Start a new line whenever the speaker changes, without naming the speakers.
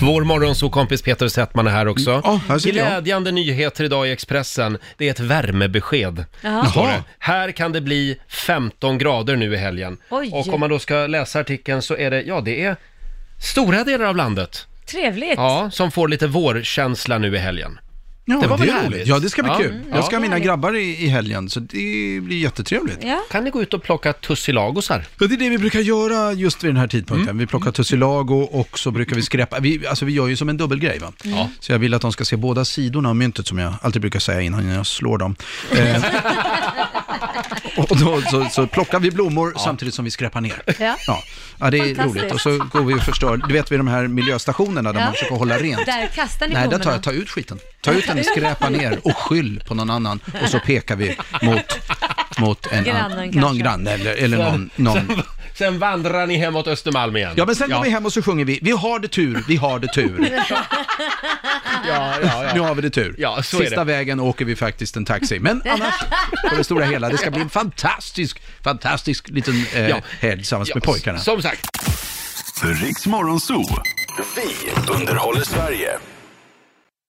Vår morgonsåkompis Peter Settman är här också.
Mm. Ja, här sitter jag.
Glädjande nyheter idag i Expressen. Det är ett värmebesked.
Jaha.
står det.
Jaha.
Här kan det bli 15 grader nu i helgen.
Oj.
Och om man då ska läsa artikeln så är det, ja det är stora delar av landet
Trevligt.
ja, som får lite vårkänsla nu i helgen.
Ja,
Det var väl
är
härligt?
Ja, det ska bli
Ja.
kul.
Mm,
Jag ska
ja.
ha mina
Härligt.
grabbar i, i helgen, så det blir jättetrevligt.
Ja.
Kan ni gå ut och plocka tussilagosar?
Ja, det är det vi brukar göra just vid den här tidpunkten. Vi plockar tussilago och så brukar vi skräpa. Vi, alltså vi gör ju som en dubbelgrej va?
Ja.
Så jag vill att de ska se båda sidorna av myntet som jag alltid brukar säga innan jag slår dem. Eh, och då så, så plockar vi blommor samtidigt som vi skräpar ner.
Ja.
Ja, ja det är
Fantastiskt.
roligt. Och så går vi och förstör. Du vet vid de här miljöstationerna där
Ja.
man försöker hålla rent.
Där kastar ni
Nej, där
blommorna.
tar jag, ta ut skiten. Ta ut den, skräpa ner och skyll på någon annan. Och så pekar vi mot, mot en,
Grannen
annan-
kanske.
någon granne eller, eller någon, någon
Sen vandrar ni hemåt Östermalm igen.
Ja, men sen går vi hem och så sjunger vi, vi har det tur, vi har det tur.
Ja, ja, ja.
Nu har vi det tur.
Ja, så är
Sista
det.
vägen åker vi faktiskt en taxi. Men annars, på det stora hela, det ska bli en fantastisk, fantastisk liten eh,
Ja.
helg tillsammans med
Ja,
pojkarna.
Som sagt,
Riks Morgonzoo. Vi underhåller Sverige.